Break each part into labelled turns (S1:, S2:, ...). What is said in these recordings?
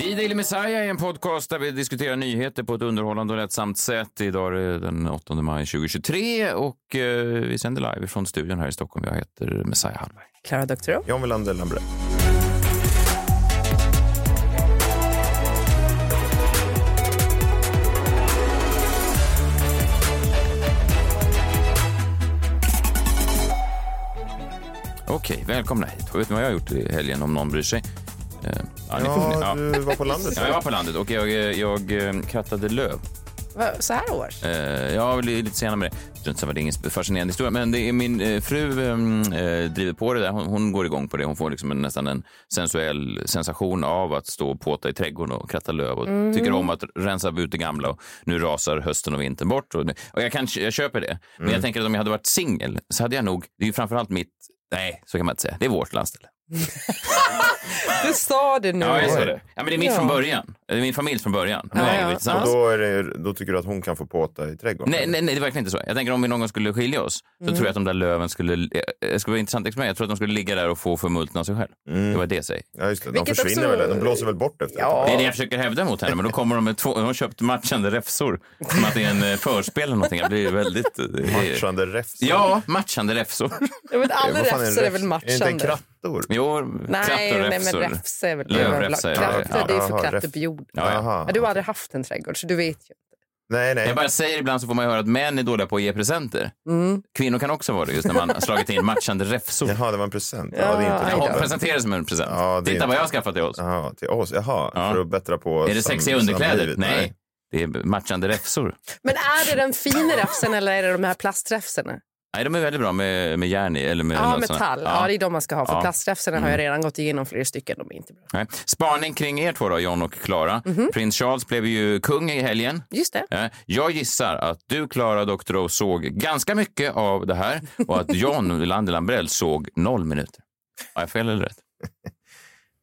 S1: I Daily Messiah är en podcast där vi diskuterar nyheter på ett underhållande och lättsamt sätt. Idag är det den 8 maj 2023 och eh, vi sänder live från studion här i Stockholm. Jag heter Messiah Hallberg.
S2: Klara Doktorow.
S3: John Wilander Lambrell.
S1: Okej, välkomna hit. Vet ni vad jag har gjort i helgen om någon bryr sig? Eh, ja, ni får-
S3: Ja,
S1: ja.
S3: du var på landet.
S1: Ja, jag var på landet och jag, eh, jag eh, krattade löv.
S2: Va, Så här års?
S1: Eh, jag var li- lite senare med det. Strunt samma, det är ingen spe- fascinerande historia. Men det är min eh, fru ehm, eh, driver på det där. Hon, hon går igång på det. Hon får liksom en, nästan en sensuell sensation av att stå och påta i trädgården och kratta löv och tycker om att rensa ut det gamla. Och nu rasar hösten och vintern bort. Och, och jag, kan, jag köper det. Men jag tänker att om jag hade varit singel så hade jag nog, det är ju framförallt mitt, nej så kan man inte säga, det är vårt landställe.
S2: Du sa det nu.
S1: Ja, jag sa det. Ja, men det är mitt
S2: Ja.
S1: från början. Det är min familj från början. Nu
S2: Ja,
S1: äger vi
S2: ja.
S1: tillsammans.
S3: Och då, är det, då tycker du att hon kan få påta i trädgården?
S1: Nej, nej, nej, det är verkligen inte så. Jag tänker om vi någon gång skulle skilja oss så
S3: Mm.
S1: tror jag att de där löven skulle... eh, Det skulle vara intressant experiment. Jag tror att de skulle ligga där och få förmultna sig själv. Det var det jag säger.
S3: Mm. Ja, just det. De
S2: Vilket
S3: försvinner
S2: också-
S3: väl? De blåser väl bort efter ett
S2: Ja.
S1: Det är det jag försöker hävda mot henne, men då kommer de med två... De har köpt matchande räfsor. Som att det är en eh, förspel eller någonting. Det blir väldigt... eh, det är-
S3: tag? Matchande refs.
S1: Ja, matchande räfsor.
S2: Ja, men alla
S3: Vad fan
S2: räfsor är
S3: en
S2: väl
S3: refs? Är det
S2: matchande?
S3: inte krattor?
S1: Jo,
S2: Nej, nej, men
S1: krattorräfsor.
S2: räfs är väl
S1: Lövrefsor, ja.
S2: Kratter, det är ju för
S3: Jaha,
S2: klatter
S3: räfs.
S2: på jorden.
S1: Ja, ja.
S3: Jaha.
S2: Ja, du har aldrig haft en trädgård, så du vet ju.
S3: Nej, nej.
S1: Jag bara säger ibland så får man ju höra att män är dåliga på att ge presenter.
S2: Mm.
S1: Kvinnor kan också vara det, just när man har slagit in matchande räfsor.
S3: Jaha, det var en present. Ja, det är
S1: Ja,
S3: inte det.
S1: presentera det som en present.
S3: Ja, det är
S1: Titta vad
S3: inte-
S1: jag har skaffat till oss.
S3: Jaha, till oss. Jaha,
S1: Ja.
S3: för att bättra på
S1: Är det
S3: sam-
S1: sexiga underkläder?
S3: samlivet.
S1: Nej. Det är matchande räfsor.
S2: Men är det den fina räfsen eller är det de här plasträfsorna?
S1: Nej, de är väldigt bra med, med järn i. Eller med
S2: Ja,
S1: något
S2: metall.
S1: sånt.
S2: Ja. det
S1: alltså, Ja.
S2: är de man ska ha. För
S1: Ja. Mm.
S2: plasträfsorna har jag redan gått igenom flera stycken. De är inte bra.
S1: Nej. Spaning kring er två då, John och Klara.
S2: Mhm.
S1: Prins Charles blev ju kung i helgen.
S2: Just det.
S1: Eh, Jag gissar att du, Klara Doktorow, såg ganska mycket av det här och att John Wilander Lambrell såg noll minuter. Har jag fel eller rätt?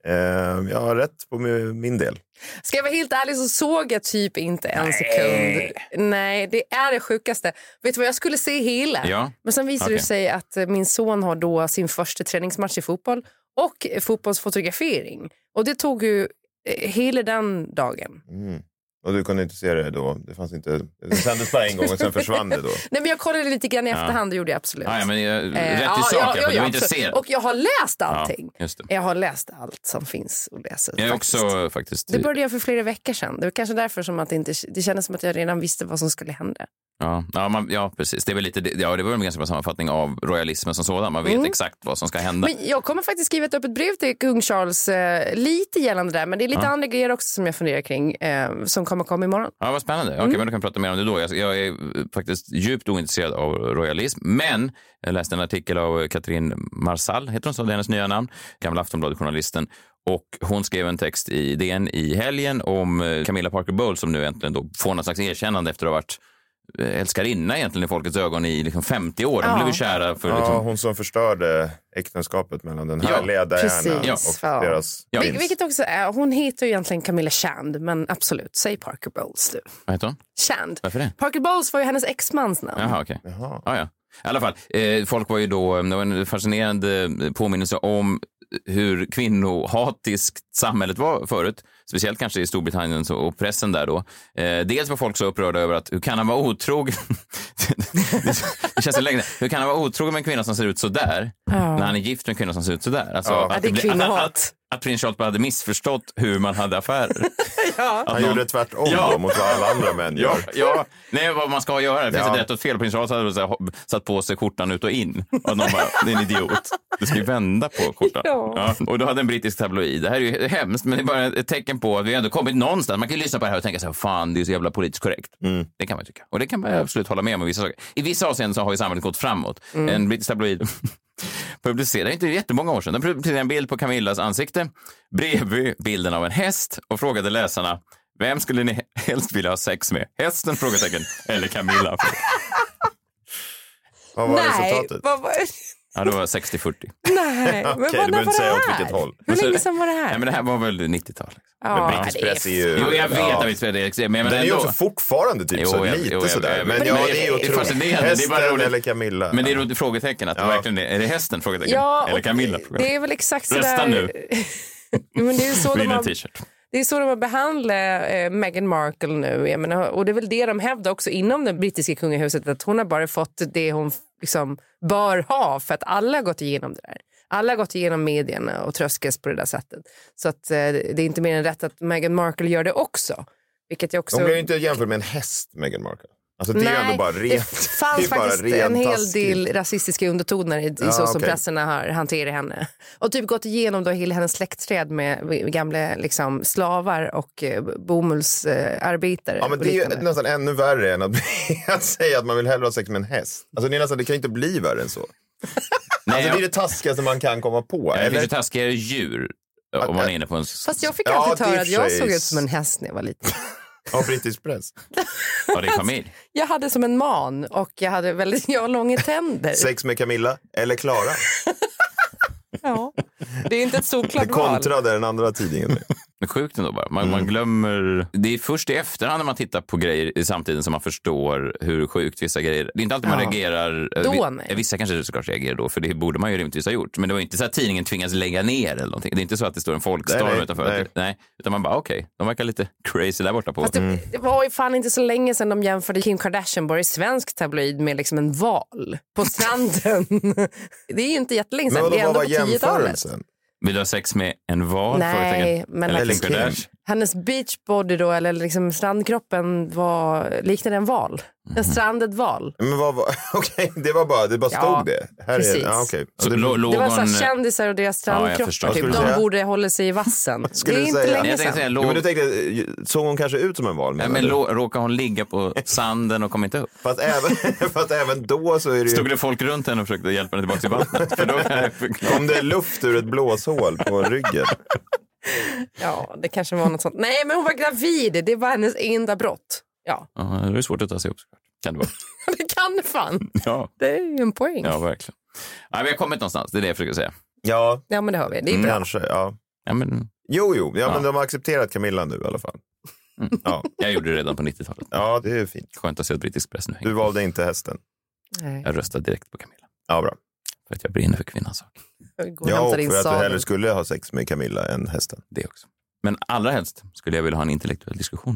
S3: Ehm, Jag har rätt på mi- min del.
S2: Ska jag vara helt ärlig så såg jag typ inte en sekund. Nej, det är det sjukaste. Vet du vad, jag skulle se hela.
S1: Ja.
S2: Men sen visade det
S1: Okej.
S2: sig att eh, min son har då sin första träningsmatch i fotboll och eh, fotbollsfotografering. Och det tog ju eh, hela den dagen.
S3: Mm. Och du kunde inte se det då? Det fanns inte... Det sändes bara en gång och sen försvann det då?
S2: Nej, men jag kollade lite grann i efterhand, det gjorde jag absolut.
S1: Ah, ja, men, eh,
S2: Eh,
S1: rätt i
S2: ja,
S1: sak,
S2: ja,
S1: ja,
S2: ja,
S1: för du
S2: ja,
S1: har inte
S2: absolut.
S1: ser.
S2: Och jag har läst
S1: Ja,
S2: allting.
S1: just det.
S2: Jag har läst allt som finns att läsa.
S1: Jag är
S2: faktiskt.
S1: också faktiskt...
S2: Det började jag för flera veckor sedan. Det var kanske därför som att det, inte, det kändes som att jag redan visste vad som skulle hända.
S1: Ja, ja, man, ja precis. Det, är väl lite, det- ja, det var väl en ganska bra sammanfattning av royalismen som sådan. Man vet exakt vad som ska hända.
S2: Mm. Men jag kommer faktiskt skriva upp ett brev till kung Charles eh, lite gällande det där. Men det är lite andra grejer också som jag funderar kring eh, som kommer komma imorgon.
S1: Ja, vad spännande. Okej,
S2: Mm.
S1: men då kan vi prata mer om det då. Jag, jag är eh, faktiskt djupt ointresserad av royalism, men jag läste en artikel av Katrin Marsall, heter hon så? Det är hennes nya namn, gamla Aftonbladet-journalisten. Och hon skrev en text i DN i helgen om eh, Camilla Parker Bowles som nu äntligen då får någon slags erkännande efter att ha varit eh, älskarinna egentligen i folkets ögon i liksom 50 år. De
S2: Ja.
S1: blev ju kära för
S3: Ja,
S1: liksom,
S3: hon som förstörde äktenskapet mellan den
S1: Ja,
S3: härliga Diana och
S1: precis.
S2: Ja.
S3: deras
S1: Ja.
S2: Vil-
S3: prins.
S2: Vilket också är, hon heter ju egentligen Camilla Chand, men absolut, säg Parker Bowles du.
S1: vad heter hon?
S2: Chand.
S1: Varför det?
S2: Parker Bowles var ju hennes exmans namn.
S1: Jaha, okej.
S3: Mm. Jaha.
S1: Ja, ja. I alla fall, eh, folk var ju då, det var en fascinerande påminnelse om hur kvinnohatiskt samhället var förut. Speciellt kanske i Storbritannien så- och pressen där då. Eh, dels var folk så upprörda över att hur kan han vara otrogen? det känns så länge. Hur kan han vara otrogen med en kvinna som ser ut så där? När han är gift med en kvinna som ser ut så där? Alltså,
S3: Ja.
S2: Ja, det är
S1: blir-
S2: kvinnohat.
S1: Att, att, att prins Charles bara hade missförstått hur man hade affärer.
S2: Ja.
S3: Han gjorde tvärtom
S1: Ja.
S3: då, mot vad alla andra män gör.
S1: Ja, nej, vad man ska göra. Det finns
S3: Ja.
S1: ett rätt och ett fel. Prins Charles hade väl så här, ho- satt på sig skjortan ut och in. Och någon bara, det är en idiot. Du ska ju vända på skjortan.
S2: Ja.
S1: Och då hade en brittisk tabloid, det här är ju hemskt, men det är bara ett tecken på att vi ändå kommit någonstans. Man kan ju lyssna på det här och tänka så här, fan, det är ju så jävla politiskt korrekt. Det kan man ju tycka. Och det kan man ju absolut hålla med om i vissa saker. I vissa avseenden så har ju samhället gått framåt.
S2: Mm.
S1: En brittisk tabloid publicerade, inte jättemånga år sedan, den publicerade en bild på Camillas ansikte bredvid bilden av en häst och frågade läsarna vem skulle ni helst vilja ha sex med? Hästen? Frågetecken. Eller Camilla?
S3: Vad var
S2: Nej,
S3: resultatet?
S2: vad, vad,
S1: Ja, det var
S2: nej.
S1: 60-40.
S2: men
S3: Okej,
S2: vad-
S3: du
S2: när
S3: behöver inte
S2: var
S3: säga
S2: det
S3: åt
S2: här?
S3: vilket håll.
S2: Hur
S1: Men så-
S2: länge sedan var det
S1: Alltså, Nej,
S2: här?
S1: men det här var väl 90-tal. Liksom.
S2: Ja,
S3: Men brittisk
S2: det är
S3: press är ju...
S1: Jo, jag vet
S3: Ja.
S1: att vi inte det är men jag
S3: Den
S1: menar
S3: är ju
S1: ändå.
S3: också fortfarande typ
S1: Jo,
S3: så
S1: jag-
S3: lite
S1: jo, jag-
S3: sådär.
S1: jag-
S3: Men,
S1: men
S3: ja,
S1: det-
S3: det är ju
S1: det är fascinerande, det är
S3: otroligt. Hästen
S1: bara roligt.
S3: eller Camilla.
S1: Men det är ett frågetecken att det
S3: Ja.
S1: verkligen är. Är det hästen? Frågetecken.
S2: Ja,
S1: Eller
S2: och
S1: Camilla? Frågetecken.
S2: Det är väl exakt så
S1: Rösta
S2: där...
S1: nu.
S2: Jo, men det är ju så de
S1: Vinn en
S2: har
S1: t-shirt.
S2: Det är så de har behandlat eh, Meghan Markle nu. Jag menar, och det är väl det de hävdar också inom det brittiska kungahuset, att hon har bara fått det hon liksom bör ha för att alla har gått igenom det där. Alla har gått igenom medierna och tröskats på det där sättet. Så att, eh, det är inte mer än rätt att Meghan Markle gör det också. Vilket jag också...
S3: Hon blir ju inte jämförd med en häst, Meghan Markle. Alltså det är ju ändå bara rent...
S2: det
S3: det
S2: fanns
S3: är bara
S2: faktiskt
S3: ren
S2: en hel
S3: taskigt.
S2: del rasistiska undertoner i, i
S3: Ja,
S2: så som
S3: okej.
S2: pressen har hanterat henne. Och typ gått igenom då hela hennes släktträd med gamla liksom, slavar och eh, bomullsarbetare.
S3: Ja, men
S2: och
S3: det är ju
S2: liknande.
S3: nästan ännu värre än att, att säga att man vill hellre ha sex med en häst. Alltså det, är nästan, det kan ju inte bli värre än så.
S1: Nej,
S3: Alltså, det är det taskigaste man kan komma på.
S1: Det
S3: Eller?
S1: finns ju taskigare djur om man är inne på en...
S2: Fast jag fick
S3: Ja,
S2: alltid
S3: det
S2: höra
S3: är
S2: att
S3: i och för
S2: jag
S3: sig-
S2: såg ut som en häst när jag var liten.
S3: Ja, brittisk press.
S1: Ja, det är familj.
S2: Jag hade som en man och jag hade väldigt jag har långa tänder.
S3: Sex med Camilla eller Klara.
S2: Ja. Det är inte ett
S3: Det
S2: solklart val.
S3: kontrade den andra tidningen.
S1: Men sjukt ändå bara. Man,
S3: Mm.
S1: man glömmer... Det är först i efterhand när man tittar på grejer i samtiden som man förstår hur sjukt vissa grejer... Det är inte alltid man
S2: Ja.
S1: reagerar... eh,
S2: Då,
S1: Vi-
S2: nej.
S1: Vissa kanske såklart reagerar då, för det borde man ju rimligtvis ha gjort. Men det var inte så att tidningen tvingas lägga ner eller någonting. Det är inte så att det står en folkstorm
S3: Nej, nej,
S1: utanför.
S3: nej.
S1: nej. Utan man bara, okej, de verkar lite crazy där borta på...
S2: Fast det,
S3: Mm.
S2: det var ju fan inte så länge sedan de jämförde Kim Kardashian bara i svensk tabloid med liksom en val på stranden. det är ju inte jättelänge
S3: Men
S2: sedan. Det
S3: vadå,
S2: är
S3: vad
S2: ändå
S3: var
S2: på 10-talet.
S3: jämförelsen?
S1: Vill du ha sex med en val?
S2: Nej,
S1: Frågetecken.
S2: men
S1: eller
S2: att-
S1: Kim Kardashian?
S2: Hennes beachbody då, eller liksom strandkroppen var, liknade en val. En
S3: Mhm.
S2: stranded val.
S3: Men vad var, okej, det var bara, det bara
S2: Ja,
S3: stod det. Här är,
S2: precis.
S3: ja, okej.
S1: Så
S3: ja, det,
S1: lå- låg
S2: Det var så
S1: hon-
S2: här, kändisar och deras
S1: Ja, jag förstår.
S2: strandkroppar. typ.
S1: Vad
S2: De
S1: skulle
S3: du säga?
S2: borde hålla sig i vassen. Det
S3: skulle
S2: är
S3: du
S2: inte
S3: säga?
S1: Nej,
S2: länge
S1: Jag tänkte säga,
S2: sedan.
S3: jo, men
S1: låg...
S3: du tänkte, eh, såg hon kanske ut som en val?
S1: Ja,
S3: menar
S1: men
S3: du?
S1: lå- råkar hon ligga på sanden och kom inte upp?
S3: Fast även, fast även då så är det ju...
S1: Stod det folk runt henne och försökte hjälpa henne tillbaka till vattnet? För då kan jag förklara.
S3: Om det är luft ur ett blåshål på ryggen.
S2: Ja, det kanske var något sånt. Nej, men hon var gravid. Det var hennes enda brott. Ja,
S1: Ja, då är det svårt att ta sig upp såklart. Kan det vara.
S2: det kan det fan.
S1: Ja,
S2: Det är ju en poäng.
S1: ja verkligen. Ja, vi har kommit någonstans, det är det jag försöker säga.
S3: Ja,
S2: Ja, men det har vi. Det är bra.
S3: kanske. Ja.
S1: Ja, men,
S3: Jo, jo. Ja,
S1: Ja. Mm.
S3: men de har accepterat Camilla nu i alla fall. Ja.
S1: jag gjorde det redan på 90-talet.
S3: ja, det är fint.
S1: Skönt att se att brittisk press nu
S3: Du
S1: hänger.
S3: valde inte hästen.
S2: Nej,
S1: Jag röstade direkt på Camilla.
S3: Ja, bra.
S1: För att jag brinner för kvinnans sak.
S2: jag går och
S3: Ja, och
S2: hämtar in
S3: för att du hellre
S2: sadeln.
S3: skulle ha sex med Camilla än hästen.
S1: Det också. Men allra helst skulle jag vilja ha en intellektuell diskussion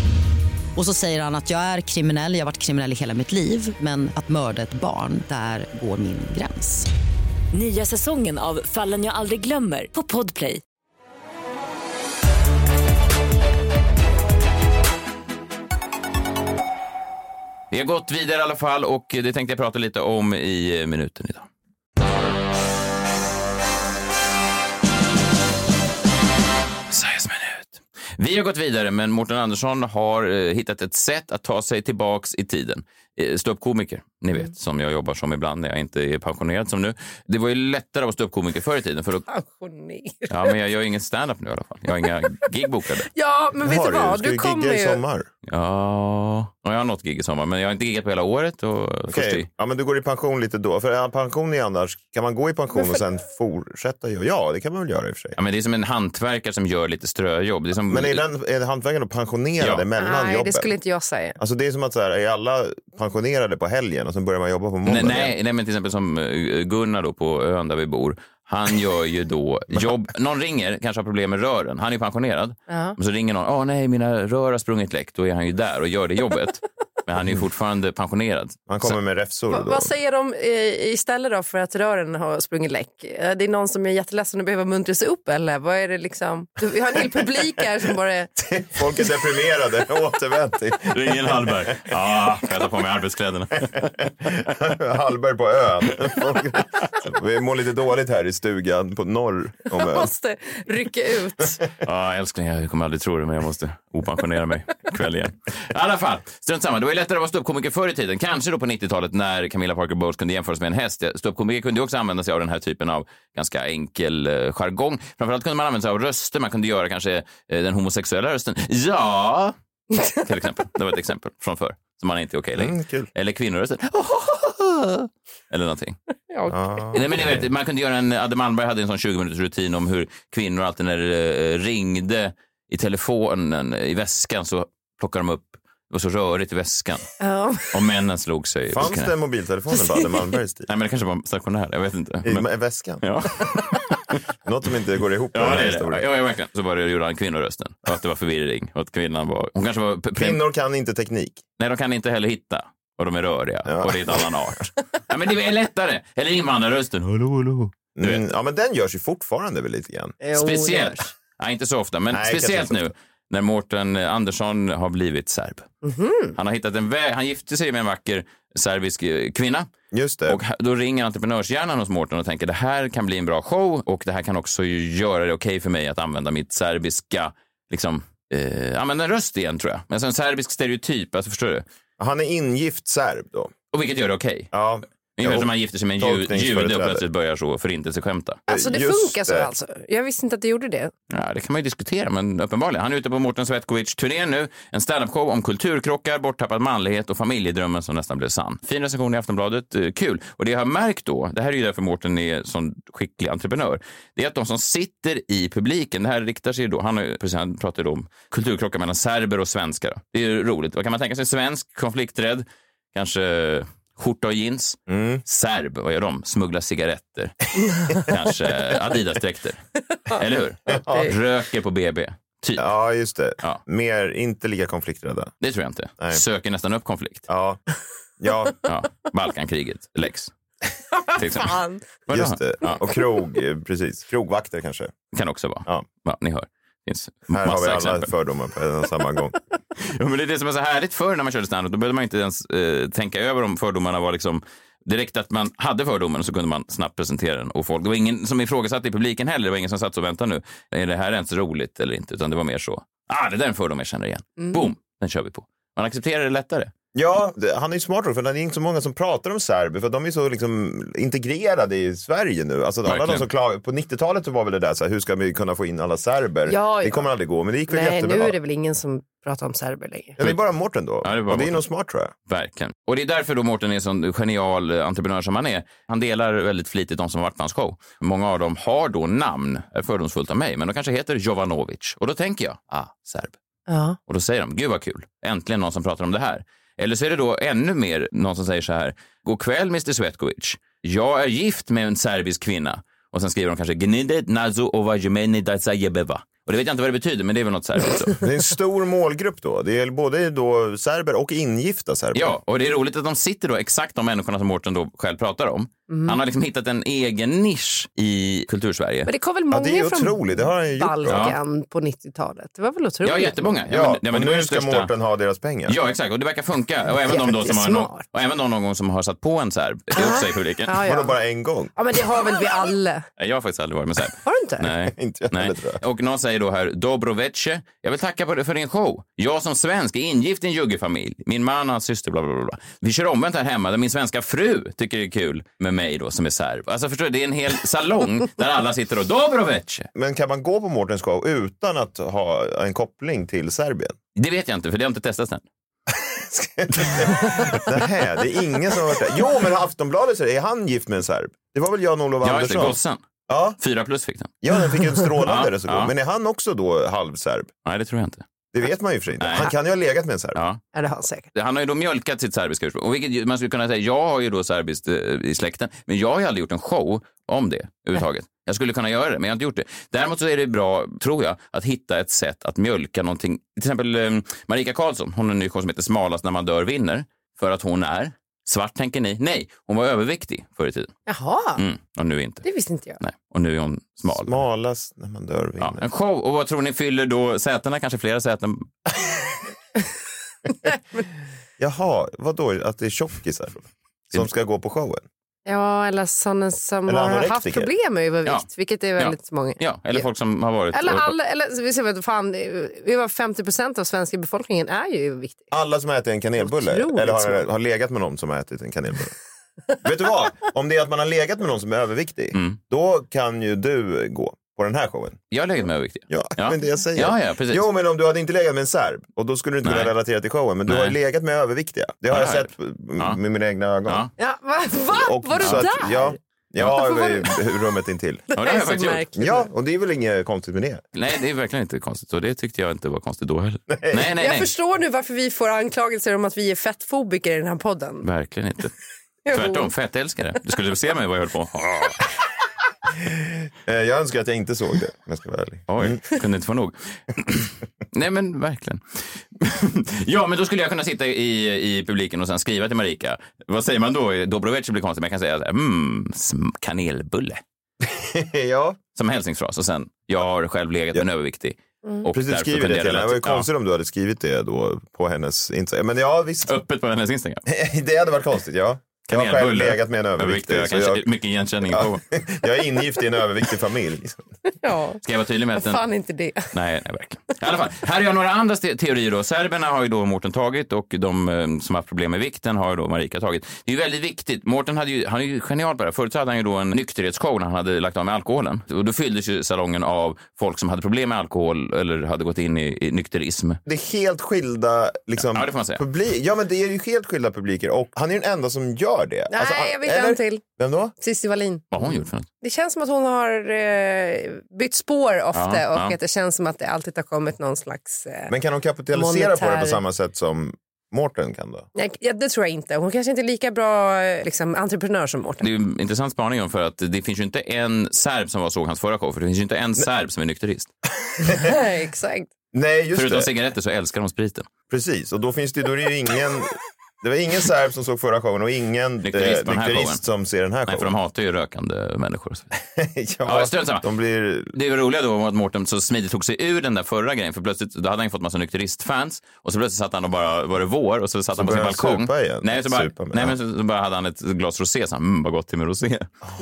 S4: Och så säger han att jag är kriminell, jag har varit kriminell i hela mitt liv men att mörda ett barn, där går min gräns.
S5: Nya säsongen av Fallen jag aldrig glömmer på Podplay.
S1: Vi har gått vidare i alla fall och det tänkte jag prata lite om i eh, minuten idag. Sveriges minut. Vi har gått vidare, men Mårten Andersson har eh, hittat ett sätt att ta sig tillbaks i tiden. Eh, Ståuppkomiker, ni vet, som jag jobbar som ibland när jag inte är pensionerad som nu. Det var ju lättare att vara ståuppkomiker förr i tiden. För då,
S2: Pensioner.
S1: ja, men jag gör ingen stand-up nu i alla fall. Jag har inga gig bokade.
S2: Ja, men vet
S3: Har
S2: du vad?
S3: Ska du
S2: Du kommer
S3: gigga i
S2: ju...
S3: sommar?
S1: Ja, jag har något gig i sommar, men jag har inte giggat på hela året. Och först i,
S3: Okej, ja, men du går i pension lite då. För ja, pension är annars, kan man gå i pension och sen fortsätta göra? Ja, det kan man väl göra i och för sig.
S1: Ja, men det är som en hantverkare som gör lite ströjobb. Det är som,
S3: Men är, den, är hantverkaren då pensionerade
S1: Ja.
S3: mellan
S2: Nej,
S3: jobben?
S2: det skulle inte jag säga.
S3: Alltså det är som att så här, är alla pensionerade på helgen och sen börjar man jobba på måndag?
S1: nej, nej, nej, men till exempel som eh, Gunnar då på ön där vi bor. Han gör ju då jobb. Någon ringer, kanske har problem med rören. Han är pensionerad.
S2: Ja.
S1: Men så ringer någon. Åh nej, mina rör har sprungit läck. Då är han ju där och gör det jobbet. Men han är ju
S3: Mm.
S1: fortfarande pensionerad.
S3: Han kommer med räfsor.
S2: Va,
S3: då.
S2: vad säger de eh, istället då för att rören har sprungit läck? Eh, Det är någon som är jätteledsen och behöver muntra sig upp eller? Vad är det liksom? Du, vi har en hel publik här som bara... är-
S3: Folk är deprimerade. Återvänd till
S1: Ringen Hallberg. Ja, jag tar på mig arbetskläderna.
S3: Hallberg på ön. Folk... Vi mår lite dåligt här i stugan på norr om ön.
S2: Måste rycka ut.
S1: Ja, älskling, jag kommer aldrig tro det, men jag måste opensionera mig ikväll igen. I alla fall, strunt samma. Det var ju lättare att vara ståuppkomiker förr i tiden. Kanske då på 90-talet när Camilla Parker Bowles kunde jämföras med en häst. Ståuppkomiker kunde ju också använda sig av den här typen av ganska enkel eh, jargong. Framförallt kunde man använda sig av röster. Man kunde göra kanske eh, den homosexuella rösten. Ja, till exempel. Det var ett exempel från förr som man inte är okej längre.
S3: Mm, kul.
S1: Eller kvinnorösten. Eller någonting.
S2: Ja, okej.
S3: Ah.
S1: Nej, men ni vet, man kunde göra en, Adde Malmberg hade en sån 20 minuters rutin om hur kvinnor alltid när det eh, ringde i telefonen eh, i väskan så plockade de upp, det var så rörigt i väskan.
S2: Ja.
S1: Och männen slog sig.
S3: Fanns det mobiltelefoner på Adde Malmbergs tid?
S1: Nej men det kanske var stationär, jag vet inte.
S3: I
S1: Men,
S3: i väskan?
S1: ja.
S3: Något som inte går ihop med
S1: ja,
S3: den
S1: det
S3: här
S1: är det.
S3: historien.
S1: Ja, ja, verkligen. Så var det, gjorde han kvinnorösten. Och att det var förvirring. Och att kvinnan var, hon kanske var... pre-
S3: Kvinnor kan inte teknik.
S1: Nej, de kan inte heller hitta. Och de är röriga.
S3: Ja.
S1: Och det är en annan art. ja, men det är lättare. Eller invandrarrösten. Hallå, hallå. Du vet.
S3: Mm, ja, men den görs ju fortfarande väl lite grann.
S1: Speciellt. Nej, inte så ofta, men
S3: Nej,
S1: speciellt
S3: kanske inte så
S1: nu när Mårten Andersson har blivit serb.
S3: Mhm.
S1: Han har hittat en väg. Han gifte sig med en vacker serbisk eh, kvinna
S3: Just det.
S1: och ha- då ringer entreprenörshjärnan hos Mårten och tänker det här kan bli en bra show och det här kan också ju göra det okej för mig att använda mitt serbiska, liksom, eh, använda en röst igen tror jag. Men alltså en serbisk stereotyp, alltså förstår du?
S3: Han är ingift serb då.
S1: Och vilket gör det okej.
S3: Ja,
S1: Ungefär
S3: Jo,
S1: som man gifter sig med en ju- jude och
S3: tolkningsföreträde.
S1: plötsligt börjar så förintelseskämta.
S2: Alltså det
S3: Just
S2: funkar så
S3: det.
S2: alltså. Jag visste inte att det gjorde det.
S1: Ja, det kan man ju diskutera, men uppenbarligen. Han är ute på Mårten Svetkovic-turnén nu. En standup-show om kulturkrockar, borttappad manlighet och familjedrömmen som nästan blev sann. Fin recension i Aftonbladet. Eh, kul. Och det jag har märkt då, det här är ju därför Mårten är sån skicklig entreprenör, det är att de som sitter i publiken, det här riktar sig ju då, han, har ju- precis, han pratar ju då om kulturkrockar mellan serber och svenskar. Det är ju roligt. Vad kan man tänka sig? Svensk, konflikträdd, kanske skjorta och jeans.
S3: Mm.
S1: Serb, vad gör de? Smugglar cigaretter. kanske Adidas-dräkter. Eller hur? Röker på BB. Typ.
S3: ja just det.
S1: Ja.
S3: Mer, inte lika konflikträdda.
S1: Det tror jag inte.
S3: Nej.
S1: Söker nästan upp konflikt.
S3: Ja, ja
S1: Ja. Balkankriget, lex. Till exempel.
S2: Fan.
S1: Vadå?
S3: just det.
S1: Ja.
S3: Och krog, eh, precis. Krogvakter kanske.
S1: Kan också vara. Ja.
S3: Ja.
S1: ni hör. Det finns
S3: Här har vi
S1: massa
S3: alla
S1: exempel.
S3: fördomar på en och samma gång.
S1: Ja, men det är det som är så härligt förr när man körde standup. Då behövde man inte ens eh, tänka över om fördomarna var liksom direkt att man hade fördomen så kunde man snabbt presentera den och folk. Det var ingen som ifrågasatte i publiken heller. Det var ingen som satt och väntade nu. Är det här ens roligt eller inte? Utan det var mer så. Ah, det där är en fördom jag känner igen. Boom, den kör vi på. Man accepterar det lättare.
S3: Ja, det- han är ju smart då, för det är inte så många som pratar om serber för de är så liksom integrerade i Sverige nu. Alltså, alla de
S1: Verkligen.
S3: som klagar, på 90-talet så var väl det där så här, hur ska vi kunna få in alla serber?
S2: Ja,
S3: det
S2: ja.
S3: kommer aldrig gå, men det gick väl
S2: Nej,
S3: jättebra.
S2: nu är det väl ingen som pratar om serber längre.
S3: Ja, det är bara Mårten då.
S1: Ja, det är
S3: det
S1: bara
S3: och det är
S1: Mårten.
S3: nog smart tror jag.
S1: Verkligen. Och det är därför då Mårten är en sån genial eh, entreprenör som han är. Han delar väldigt flitigt de som har varit på hans show. Många av dem har då namn, är fördomsfullt av mig, men de kanske heter Jovanovic. Och då tänker jag, ah, serb.
S2: Ja.
S1: Och då säger de, gud vad kul, äntligen någon som pratar om det här. Eller så är det då ännu mer någon som säger så här, god kväll Mr Svetkovic, jag är gift med en serbisk kvinna. Och sen skriver de kanske, gnidet nazo ovajumeni dajzajebeva. Och det vet jag inte vad det betyder, men det är väl något serbiskt. så.
S3: Det är en stor målgrupp då. Det är både då serber och ingifta serber.
S1: Ja, och det är roligt att de sitter då exakt de människorna som Mårten då själv pratar om.
S2: Mm.
S1: Han har liksom hittat en egen nisch i kultursverige.
S2: Men det kom väl
S3: Ja,
S2: många
S3: det är
S2: från
S3: otroligt. Det har han ju gjort.
S2: Balkan på 90-talet. Det var väl otroligt?
S1: Ja, jättemånga.
S3: Ja,
S1: men- men
S3: och
S1: det var
S3: nu
S1: den
S3: ska
S1: största-
S3: Mårten ha deras pengar.
S1: Ja, exakt. Och det verkar funka. Och även, de då som har någon,
S2: Jättesmart.
S1: och även de någon gång som har satt på en serb är också i publiken.
S2: Ja,
S3: Vadå,
S2: ja.
S3: bara en gång?
S2: ja, men det har väl vi alla?
S1: Jag har faktiskt aldrig varit med serb.
S2: Har du inte?
S1: Nej.
S3: Inte jag
S1: Nej.
S3: heller, tror jag.
S1: Och någon säger då här, Dobrovece, jag vill tacka på- för din show. Jag som svensk är ingift i en juggefamilj. Min man och hans syster, bla bla bla, bla. Vi kör omvänt här hemma, där min svenska fru tycker det är kul med mig då som är serb. Alltså förstår du, det är en hel salong där alla sitter och Dobrovece.
S3: Men kan man gå på Mårtens show utan att ha en koppling till Serbien?
S1: Det vet jag inte, för det har inte testats än.
S3: Nej, det är ingen som har hört det. Jo, men Aftonbladet säger, är han gift med en serb? Det var väl Jan-Olof
S1: Ja, just det,
S3: Andersson?
S1: gossen.
S3: Ja,
S1: Fyra plus fick den.
S3: ja, den fick en strålande
S1: Ja,
S3: recension.
S1: ja.
S3: Men är han också då halvserb?
S1: Nej, det tror jag inte.
S3: Det vet man ju för inte.
S1: Nej.
S3: Han kan ju ha legat med en serb.
S1: Ja.
S2: Ja, det har han säkert.
S1: Han har ju då mjölkat sitt serbiska ursprung. Och vilket ju- man skulle kunna säga, jag har ju då serbiskt eh, i släkten, men jag har ju aldrig gjort en show om det överhuvudtaget. Jag skulle kunna göra det, men jag har inte gjort det. Däremot så är det bra, tror jag, att hitta ett sätt att mjölka någonting. Till exempel eh, Marika Karlsson, hon har en ny show som heter Smalast när man dör vinner. För att hon är svart, tänker ni. Nej, hon var överviktig förr i tiden.
S2: Jaha,
S1: Mm, och nu inte.
S2: det visste inte jag.
S1: Nej. Och nu är hon smal.
S3: Smalast när man dör
S1: Ja,
S3: vinner.
S1: en show. Och vad tror ni fyller då sätena? Kanske flera säten?
S3: Jaha, vadå? Att det är tjockisar som ska gå på showen?
S2: Ja, eller sådana som
S3: Eller
S2: har haft
S3: anorektiker.
S2: problem med övervikt,
S1: Ja.
S2: vilket är
S1: Ja.
S2: väldigt många.
S1: Ja, eller folk som har varit...
S2: Eller, alla, eller så vi ser vad fan, över 50 procent av svenska befolkningen är ju överviktig.
S3: Alla som äter en kanelbulle
S2: Otroligt
S3: eller har,
S2: svårt.
S3: har legat med någon som har ätit en kanelbulle. Vet du vad? Om det är att man har legat med någon som är överviktig,
S1: Mm.
S3: då kan ju du gå på den här showen.
S1: Jag har legat med överviktiga.
S3: Ja,
S1: Ja.
S3: men det jag säger.
S1: Ja, ja, precis.
S3: Jo, men om du hade inte legat med en serb, och då skulle du inte
S1: Nej.
S3: kunna relatera till showen. Men du har
S1: Nej.
S3: ju legat med överviktiga. Det har
S1: Ja,
S3: jag
S1: ja, ja.
S3: sett m-
S1: Ja.
S3: med mina egna ögon.
S1: Ja.
S2: Ja, va? va?
S3: Och
S2: var du
S3: så att-
S2: där?
S3: Ja,
S2: Varför
S3: ja jag var
S2: var
S3: i rummet intill.
S1: Ja, det har jag faktiskt gjort.
S3: Ja, och det är väl inget konstigt med det.
S1: Nej, det är verkligen inte konstigt. Och det tyckte jag inte var konstigt då heller. Nej, nej, nej.
S2: Jag förstår nu varför vi får anklagelser om att vi är fettfobiker i den här podden.
S1: Verkligen inte.
S2: Jo.
S1: Tvärtom, fettälskare. Du skulle se mig vad jag höll på.
S3: Eh, Jag önskar att jag inte såg det, om jag ska vara ärlig.
S1: Oj, kunde inte få nog. Nej, men verkligen. ja, men då skulle jag kunna sitta i, i publiken och sen skriva till Marika. Vad säger man då? Dobrovec blir konstigt, men jag kan säga så här, mm, sm- kanelbulle.
S3: Ja,
S1: Som hälsningsfras. Och sen, jag har själv legat med en överviktig. Och
S3: Mm. precis.
S1: därför
S3: Skriv det
S1: kunde
S3: till
S1: jag
S3: henne. Det var ju
S1: relatera-
S3: konstigt om du hade skrivit det då på hennes Instagram. Men ja, visst.
S1: ja, Öppet på hennes Instagram.
S3: Det hade varit konstigt, ja. Jag har själv
S1: Kanelbulle.
S3: legat med en överviktig.
S1: Jag
S3: Så
S1: kanske,
S3: jag,
S1: Mycket igenkänning.
S3: Ja. jag är ingift i en överviktig familj.
S2: Ja,
S1: Ska jag vara tydlig med att den...
S2: fan inte det.
S1: Nej, nej, verkligen. I alla fall, här är jag några andra ste- teorier. Då. Serberna har ju då Mårten tagit och de eh, som har haft problem med vikten har ju då Marika tagit. Det är ju väldigt viktigt. Mårten hade ju, han är ju genial på det här. Förut så hade han ju då en nykterhetsshow när han hade lagt av med alkoholen. Och då fylldes ju salongen av folk som hade problem med alkohol eller hade gått in i, i nykterism.
S3: Det är helt skilda liksom,
S1: Ja, det får man säga.
S3: publik. Ja, men det är ju helt skilda publiker och han är den enda som gör det.
S2: Nej,
S3: Alltså, han-
S2: jag vet en till.
S3: Vem då?
S2: Cissi Wallin.
S1: Vad har hon gjort för något?
S2: Det känns som att hon har eh, bytt spår ofta
S1: Ja,
S2: och
S1: ja.
S2: att det känns som att det alltid har kommit någon slags... Eh,
S3: Men kan hon kapitalisera på det
S2: Monetär.
S3: på samma sätt som Mårten kan då?
S2: nej, ja, det tror jag inte. Hon kanske inte är lika bra eh, liksom, entreprenör som Mårten.
S1: Det är ju en intressant spaning om för att det finns ju inte en serb som var såg hans förra show, för det finns ju inte en serb som är nykterist.
S2: Nej, Exakt.
S3: Nej, just
S1: Förutom
S3: det.
S1: cigaretter så älskar de spriten.
S3: Precis, och då finns det, då är det ju ingen... Det var ingen serb som såg förra showen och ingen eh,
S1: Nykterist på den här showen.
S3: nykterist som ser den här
S1: Nej, för
S3: showen.
S1: de hatar ju rökande människor. och så vidare.
S3: ja,
S1: Ja, strunt samma.
S3: de blir...
S1: Det var roliga då var att Mårten så smidigt tog sig ur den där förra grejen för plötsligt då hade han ju fått massa nykteristfans och så plötsligt satt han och bara var det vår och så satt han på sin
S3: började han
S1: balkong.
S3: supa igen.
S1: Nej, så bara,
S3: Supa med-
S1: nej
S3: ja.
S1: men så, så bara hade han ett glas rosé så han, mm, vad gott det är med rosé.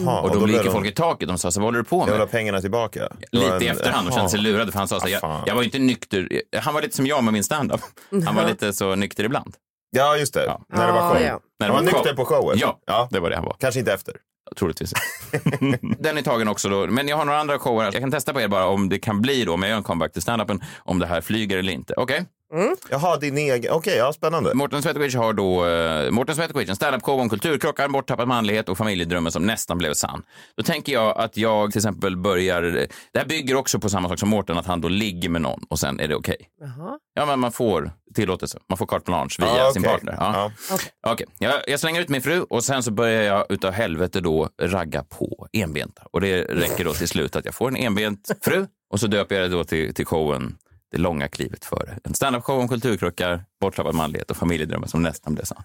S3: Jaha,
S1: och då, gick
S3: blev
S1: ju
S3: de-
S1: folk i taket de sa så vad håller du på
S3: Jag
S1: med?
S3: vill ha pengarna tillbaka. Det var
S1: Lite i
S3: en-
S1: efterhand och
S3: Jaha.
S1: kände sig lurad för han sa så här,
S3: Ah,
S1: jag,
S3: fan.
S1: jag var ju inte nykter, han var lite som jag med min standup. Han var lite så nykter ibland.
S3: Ja, just det. När det var show.
S2: Ja, ja.
S1: När det
S3: Han var
S1: var show.
S3: nykter på showen.
S1: Ja, det var det han var.
S3: Kanske inte efter.
S1: Troligtvis. den är tagen också då. Men jag har några andra shower här. Jag kan testa på er bara om det kan bli då, om jag gör en comeback till standupen, om det här flyger eller inte. Okej?
S3: Jaha, din egen. Okej, ja, spännande.
S1: Mårten Svetkovic har då... Uh, Mårten Svetkovic, en standup-show om kulturkrockar, borttappad manlighet och familjedrömmen som nästan blev sann. Då tänker jag att jag till exempel börjar... eh, Det här bygger också på samma sak som Mårten, att han då ligger med någon och sen är det okej.
S2: Jaha.
S1: Ja, men man får tillåtelse. Man får carte blanche via
S3: Ja,
S1: sin
S3: Ah, okej.
S1: partner. Ja.
S3: Ja.
S1: Okej, jag, jag slänger ut min fru och sen så börjar jag utav helvete då ragga på enbenta. Och det räcker då till slut att jag får en enbent fru och så döper jag det då till, till showen Det långa klivet före. En standup-show om kulturkrockar, borttappad manlighet och familjedrömmar som nästan blev sann.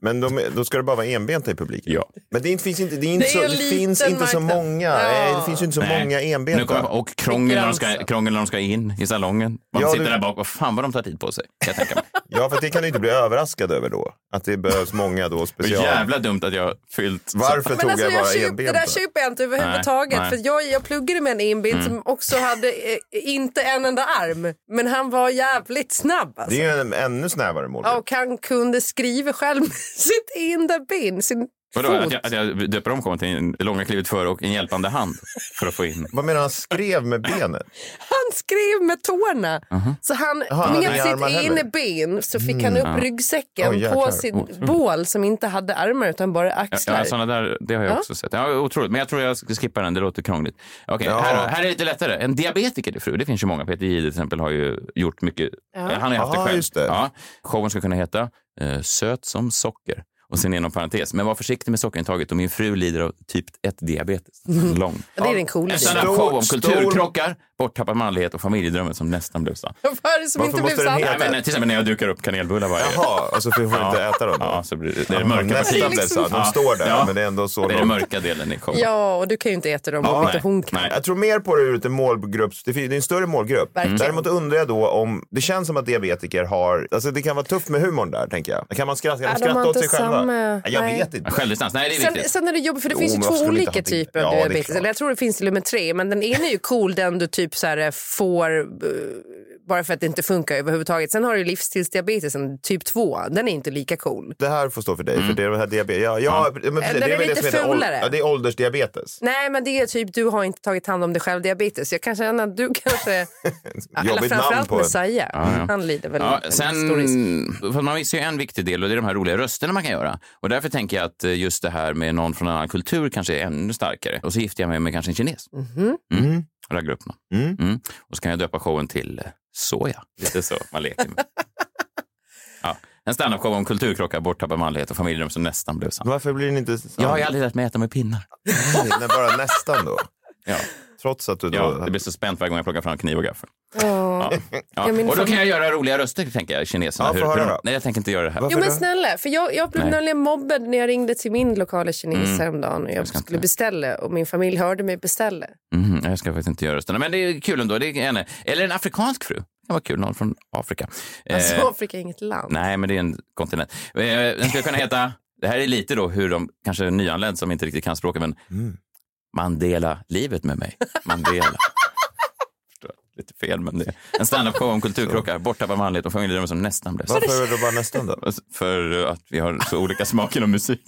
S3: Men de, då ska det bara vara enbenta i publiken.
S1: Ja.
S3: Men det finns inte, det är
S2: Det
S3: inte,
S2: är
S3: så,
S2: en
S3: det
S2: liten
S3: finns inte så
S2: marknad.
S3: många.
S2: Ja.
S3: Nej, det finns ju inte så
S1: Nej.
S3: många
S1: Nu kommer
S3: enbenta.
S1: jag, på- och krångel när, de ska,
S2: Gränsen.
S1: krångel när de ska in i salongen. Man
S3: Ja,
S1: sitter
S3: du-
S1: där bak. Vad fan vad de tar tid på sig. kan Jag tänker mig.
S3: Ja, för det kan du inte bli överraskad över då. Att det behövs många då
S1: Det är
S3: special.
S1: jävla dumt att jag fyllt...
S3: Varför
S2: Men
S3: tog
S2: alltså,
S3: jag bara
S2: jag köp, det
S3: enbenta?
S2: där köper jag inte överhuvudtaget.
S1: Nej, nej.
S2: För jag, jag pluggade med en inbild
S3: Mm.
S2: som också hade eh, inte en enda arm. Men han var jävligt snabb. Alltså.
S3: Det är ju en ännu snävare mål.
S2: Ja, Och han kunde skriva själv med sitt innerben, sin
S1: Vadå,
S2: fot.
S1: att jag, att jag döper om showen till en- Det långa klivet före och en hjälpande hand för att få in...
S3: Vad menar han skrev med benet?
S2: Han skrev med tårna. Så han
S3: Uh-huh. Jaha, han hade
S2: med
S3: inga armar
S2: sitt
S3: heller. Mm.
S2: innerben så fick han upp ryggsäcken
S3: Oj, jäklar. Mm.
S2: på sitt bål som inte hade armar utan bara
S1: Ja,
S2: axlar.
S3: alltså-
S1: ja, såna där, det har jag också sett. Ja, otroligt. Men jag tror jag ska skippa den, det låter krångligt. Okej,
S3: Ja.
S1: här, då. här är det lite lättare. En diabetiker till fru, det finns ju många. Peter Jihde till exempel har ju gjort mycket. Eh, Han har ju haft
S3: Ja,
S1: det själv.
S3: just det.
S1: Ja. Showen ska kunna heta eh, Söt som socker. Och sen inom parentes, men var försiktig med sockerintaget och min fru lider av typ 1 diabetes. Lång.
S2: Mm. Det är den coola delen.
S1: En sån här
S3: Stor-
S1: show om
S3: stor-
S1: kulturkrockar, borttappad manlighet och familjedrömmen som nästan blev sann.
S2: Vad är det som
S3: Varför
S2: inte blev
S3: måste den
S2: sant?
S3: heta-
S1: Nej, men till exempel när jag dukar upp kanelbullar varje
S3: Jaha, alltså för vi får inte äta dem.
S1: Ja, så blir det, det är liksom- det mörka
S3: Nästan
S1: partiet.
S3: blev sant. De står där, men det är ändå så
S1: Det är den
S3: långt.
S1: mörka delen i showen.
S2: Ja, och du kan ju inte äta dem
S1: Ja,
S2: om inte
S1: nej,
S2: hon kan.
S1: nej.
S3: Jag tror mer på det ur ett målgrupps... Det fin- det är en större målgrupp.
S2: Verkligen.
S3: Däremot undrar jag då om... Det känns som att diabetiker har... Alltså det kan vara tufft med humorn där, tänker jag. Kan man skratta, kan
S2: Ja,
S3: de
S2: de
S3: skratta
S2: har
S3: åt sig
S2: inte
S3: själva?
S2: samma-
S3: Nej, jag
S2: nej.
S3: vet inte.
S1: Självdistans, nej det är
S2: Sen,
S1: viktigt.
S2: sen är det jobbigt, för det
S3: Jo,
S2: finns ju
S3: men
S2: två
S3: varför skulle vi inte
S2: olika
S3: ha det?
S2: typer
S3: Ja,
S2: av
S3: det är
S2: diabetes.
S3: klart.
S2: Eller jag tror det finns till och med tre, men den ena är ju cool, den du typ så här eh, får eh, bara för att det inte funkar överhuvudtaget. Sen har du livsstilsdiabetesen, typ 2. Den är inte lika cool.
S3: Det här får stå för dig,
S1: Mm.
S3: för det är den här diabetes... Ja, ja, men precis,
S2: Den
S3: det
S2: är
S3: är väl det
S2: lite
S3: som heter ål-
S2: fulare.
S3: ja, det är åldersdiabetes.
S2: Nej, men det är typ du har inte tagit hand om dig själv diabetes. Jag kan känna att du kanske... Eller
S3: Jobbigt namn
S2: framförallt
S3: på en.
S2: Messiah. Han lider väl
S1: Ja,
S2: en stor risk.
S1: sen, för man missar ju en viktig del och det är de här roliga rösterna man kan göra. Och därför tänker jag att eh, just det här med någon från en annan kultur kanske är ännu starkare. Och så gifter jag mig med kanske en kines.
S2: Mhm.
S1: Mm. Raggar upp någon.
S3: Mm.
S1: Mm. Och så kan jag döpa showen till eh, Soja. Lite så man leker med. ja. En standup-show om kulturkrockar, borttappad manlighet och familjedröm som nästan blev sann.
S3: Varför blir den inte sann?
S1: Jag har ju aldrig lärt mig äta med pinnar.
S3: Nej, bara nästan då.
S1: Ja.
S3: Trots att du då...
S1: Ja, det blir så spänt varje gång jag plockar fram kniv och gaffel.
S2: Ja.
S1: Ja.
S2: Jag minns
S1: Och då
S2: att-
S1: kan jag göra roliga röster, tänker jag, kineserna.
S3: Ja, få höra
S1: de-
S3: då.
S1: Nej, jag tänker inte göra det här.
S3: Varför
S2: Jo men
S3: då?
S2: snälla, för jag, jag blev
S1: Nej.
S2: nämligen mobbad när jag ringde till min lokala kines
S1: Mm.
S2: häromdagen och jag,
S1: Jag ska
S2: skulle
S1: inte-
S2: beställa och min familj hörde mig beställa.
S1: Mhm, jag ska faktiskt inte göra rösterna, men det är kul ändå. Det är en, eller en afrikansk fru. Det var kul, någon från Afrika. Eh,
S2: Alltså Afrika är inget land.
S1: nej, men det är en kontinent. Eh, den skulle kunna heta, det här är lite då hur de, kanske nyanländ som inte riktigt kan språket, men
S3: Mm.
S1: Mandela, livet med mig. Mandela. Förstår, Lite fel, men det är en standup-show om kulturkrockar, borttappad manlighet och familjedrömmar som nästan blev
S3: Varför är det bara nästan då?
S1: För eh, att vi har så olika smak inom musik.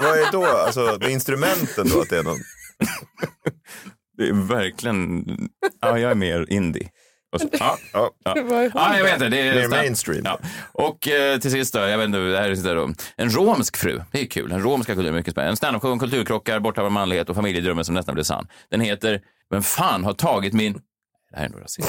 S3: Vad är då, alltså med instrumenten då? Att det är någon...
S1: Det är verkligen, ja, jag är mer indie. Och så, ja,
S3: ja.
S1: ja.
S2: Vad är
S1: Ja, jag vet inte. Det är
S3: Mer
S1: nästan-
S3: mainstream.
S1: Ja. Och eh, till sist då, jag vet inte, det här är så där då. En romsk fru, det är kul. En romska kultur, mycket spännande. En standup-show om kulturkrockar, borttappad manlighet och familjedrömmen som nästan blev sann. Den heter Vem fan har tagit min... Det här är nog rasism.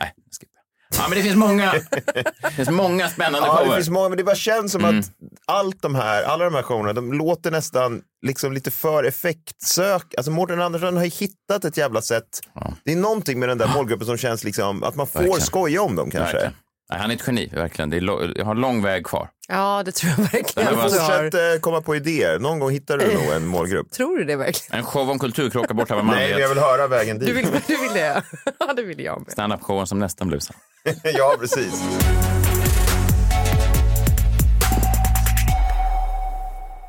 S1: Nej, jag skippar. Ja, men det finns många, det Mm. finns många spännande
S3: Ja, det
S1: shower.
S3: finns många, men det bara känns som att allt de här, alla de här showerna, de låter nästan liksom lite för effektsök. Alltså Mårten Andersson har ju hittat ett jävla sätt. Det är någonting med den där målgruppen som känns liksom att man får
S1: Verkligen.
S3: skoja om dem kanske.
S1: Verkligen. Nej, han är ett geni, verkligen. Det är lo- jag har lång väg kvar.
S2: Ja, det tror jag verkligen
S1: Men
S2: att du har.
S3: Fortsätt eh, komma på idéer. Någon gång hittar du nog en målgrupp.
S2: Tror du det verkligen?
S1: En show om kulturkrockar, borttappad
S3: Nej, men jag
S1: manlighet.
S3: vill höra vägen dit.
S2: Du vill, du vill det? Ja, det vill jag med.
S1: Standup-showen som nästan blev sann.
S3: ja, precis.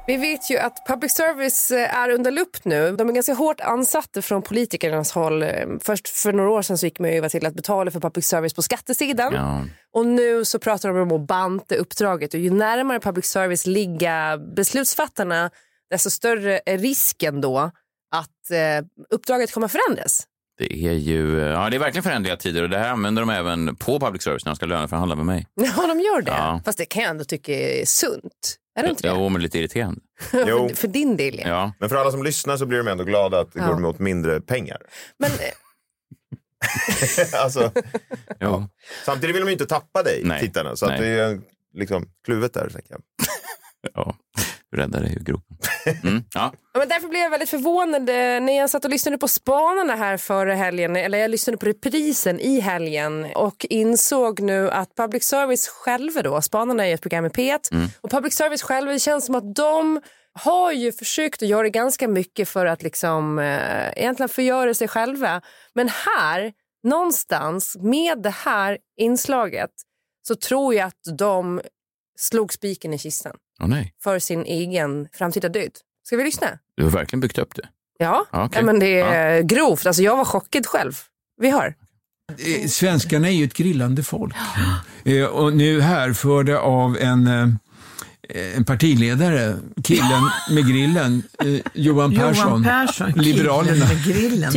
S2: Vi vet ju att public service eh, är under lupp nu. De är ganska hårt ansatta från politikernas håll. Eh, Först för några år sedan så gick man ju över till att betala för public service på skattesidan.
S1: Ja.
S2: Och nu så pratar de om att banta uppdraget och ju närmare public service ligga beslutsfattarna desto större är risken då att eh, uppdraget kommer förändras.
S1: Det är ju, ja det är verkligen förändliga tider och det här använder de även på public service när de ska löneförhandla med mig.
S2: Ja, de gör det.
S1: Ja.
S2: Fast det kan jag ändå tycka är sunt. Är det inte det?
S1: Ja, men lite irriterande.
S3: Jo.
S2: För din del, ja.
S1: Ja.
S3: Men för alla som lyssnar så blir de ändå glada att det
S2: Ja.
S3: går mot mindre pengar.
S2: Men eh,
S3: alltså,
S1: Jo.
S3: samtidigt vill de ju inte tappa dig,
S1: Nej.
S3: tittarna. Så att
S1: Nej.
S3: det är en- liksom kluvet där. tänker jag.
S1: Ja. Du räddade ju gropen. Mm. Ja.
S2: Ja, men därför blev jag väldigt förvånad eh, när jag satt och lyssnade på Spanarna här före helgen, eller jag lyssnade på reprisen i helgen och insåg nu att public service själva då, Spanarna är ju ett program i P1 och public service själva, det känns som att de har ju försökt att göra ganska mycket för att liksom eh, egentligen förgöra sig själva. Men här, någonstans med det här inslaget så tror jag att de slog spiken i kistan
S1: Åh nej,
S2: för sin egen framtida död. Ska vi lyssna?
S1: du har verkligen byggt upp det.
S2: Ja,
S1: Ja, okej.
S2: ja men det är grovt. Alltså, jag var chockad själv. Vi hör.
S6: Eh, svenskarna är ju ett grillande folk. Eh, och nu härförda av en, eh, Ehm, en partiledare, killen med grillen, eh, Johan Persson. Liberalerna.
S7: grillen.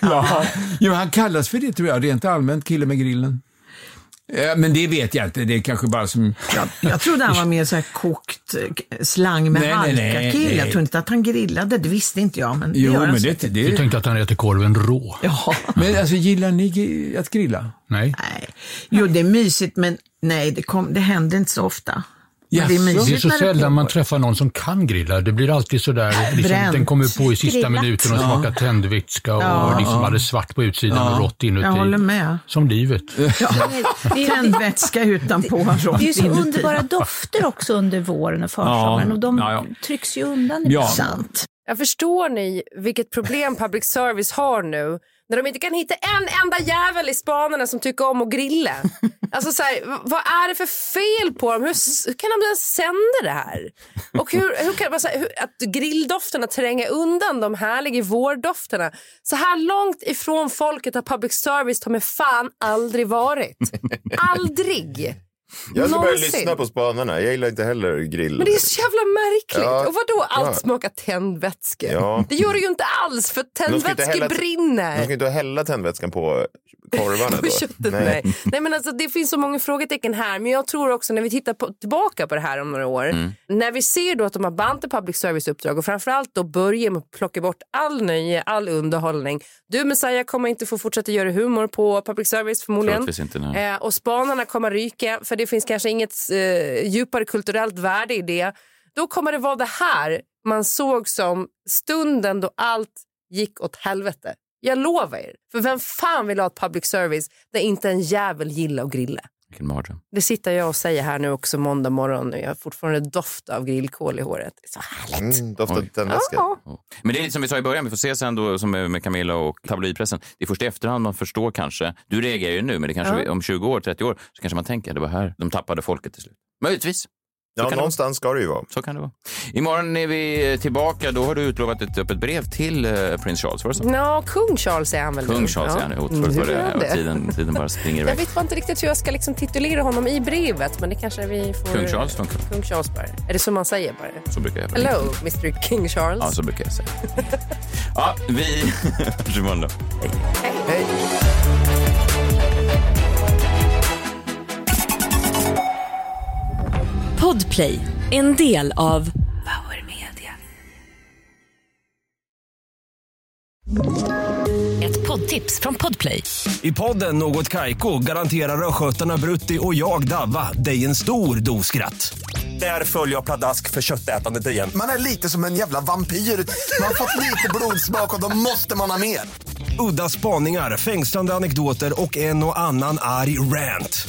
S6: Ja. Jo, han kallas för det tror jag, rent allmänt, killen med grillen. Eh, Men det vet jag inte, det är kanske bara som...
S7: Jag trodde han var mer så här kokt eh, slang med
S6: Nej, nej, nej,
S7: halka-kille. Jag
S6: nej.
S7: tror inte att han grillade, det visste inte jag. Men det
S6: Jo,
S7: gör han
S6: men det,
S7: säkert.
S6: det...
S8: tänkte att han äter korven rå.
S7: Ja.
S6: Men alltså, gillar ni gri- att grilla?
S8: Nej.
S7: Nej. Jo, det är mysigt, men nej, det, kom, det händer inte så ofta. Men det är mysigt
S8: Det är så
S7: när det
S8: sällan man
S7: pågår.
S8: träffar någon som kan grilla. Det blir alltid sådär, liksom,
S7: Bränt.
S8: den kommer på i sista
S7: Grillat.
S8: minuten och
S7: Ja.
S8: smakar tändvätska och
S7: Ja.
S8: liksom alldeles svart på utsidan
S7: Ja.
S8: och rått inuti.
S7: Jag håller med.
S8: Som livet.
S7: Tändvätska utanpå och rått
S9: Det är ju så
S7: inuti.
S9: underbara dofter också under våren och försommaren och de
S8: Ja, ja.
S9: trycks ju undan.
S8: Ja.
S9: ibland.
S8: Sant.
S2: Jag förstår ni vilket problem public service har nu när de inte kan hitta en enda jävel i spanerna som tycker om att grilla. Alltså så här, v- vad är det för fel på dem? Hur, s- hur kan de ens sända det här? Och hur, hur kan vad så här, hur, att grilldofterna tränga undan de härliga vårdofterna? Så här långt ifrån folket har public service ta mig fan aldrig varit. Aldrig!
S3: Jag ska börja
S2: Någonsin.
S3: lyssna på spanarna. Jag gillar inte heller grill.
S2: Men det är så jävla märkligt.
S3: Ja,
S2: och vadå allt
S3: ja.
S2: smakar tändvätska?
S3: Ja.
S2: Det gör det ju inte alls för
S3: De ska inte
S2: tändvätska
S3: hälla- De
S2: brinner.
S3: ska inte hälla tändvätskan på korvarna
S2: På köttet, nej. nej men alltså det finns så många frågetecken här men jag tror också när vi tittar på, tillbaka på det här om några år
S10: Mm.
S2: när vi ser då att de har bantat public service uppdrag och framförallt då börjar med att plocka bort all nöje, all underhållning. Du Messiah kommer inte få fortsätta göra humor på public service förmodligen.
S1: Troligtvis inte, nej.
S2: Eh, och spanarna kommer ryka för det finns kanske inget eh, djupare kulturellt värde i det. Då kommer det vara det här man såg som stunden då allt gick åt helvete. Jag lovar er. För vem fan vill ha ett public service där inte en jävel gillar att grilla?
S1: Vilken mardröm.
S2: Det sitter jag och säger här nu också måndag morgon. Jag har fortfarande doft av grillkol i håret. Det är så härligt.
S3: Mm, doftar tändvätska.
S1: Men det är lite som vi sa i början, vi får se sen då, som med med Camilla och tabloidpressen. Det är först i efterhand man förstår kanske. Du reagerar ju nu, men det kanske
S3: Ja.
S1: vi- om 20 år, 30 år så kanske man tänker det var här de tappade folket till slut. Möjligtvis. Så
S3: Ja,
S1: kan det
S3: någonstans ska det ju vara.
S1: Så kan det vara. Imorgon är vi tillbaka. Då har du utlovat ett öppet brev till eh, prins Charles. Var det så?
S2: Nå, kung Charles är han väl
S1: Kung
S2: nu?
S1: Charles är han. Jag
S2: Mm,
S1: otroligt vad
S2: hur
S1: det
S2: är
S1: är.
S2: han
S1: Och
S2: det?
S1: Tiden, tiden bara springer
S2: Jag
S1: iväg.
S2: vet bara inte riktigt hur jag ska liksom titulera honom i brevet, men det kanske vi får...
S1: Kung Charles funkar.
S2: Kung Charles bara. Är det så man säger bara?
S1: Så brukar jag väl-
S2: Hello, Mr King Charles.
S1: Ja, så brukar jag säga. Ja, vi hörs imorgon då.
S5: Podplay, en del av Power Media. Ett poddtips från Podplay.
S11: I podden Något Kaiko garanterar östgötarna Brutti och jag, Davva, dig en stor dos skratt. Där följer jag pladask för köttätandet igen.
S12: Man är lite som en jävla vampyr. Man har fått lite blodsmak och då måste man ha mer.
S11: Udda spaningar, fängslande anekdoter och en och annan arg rant.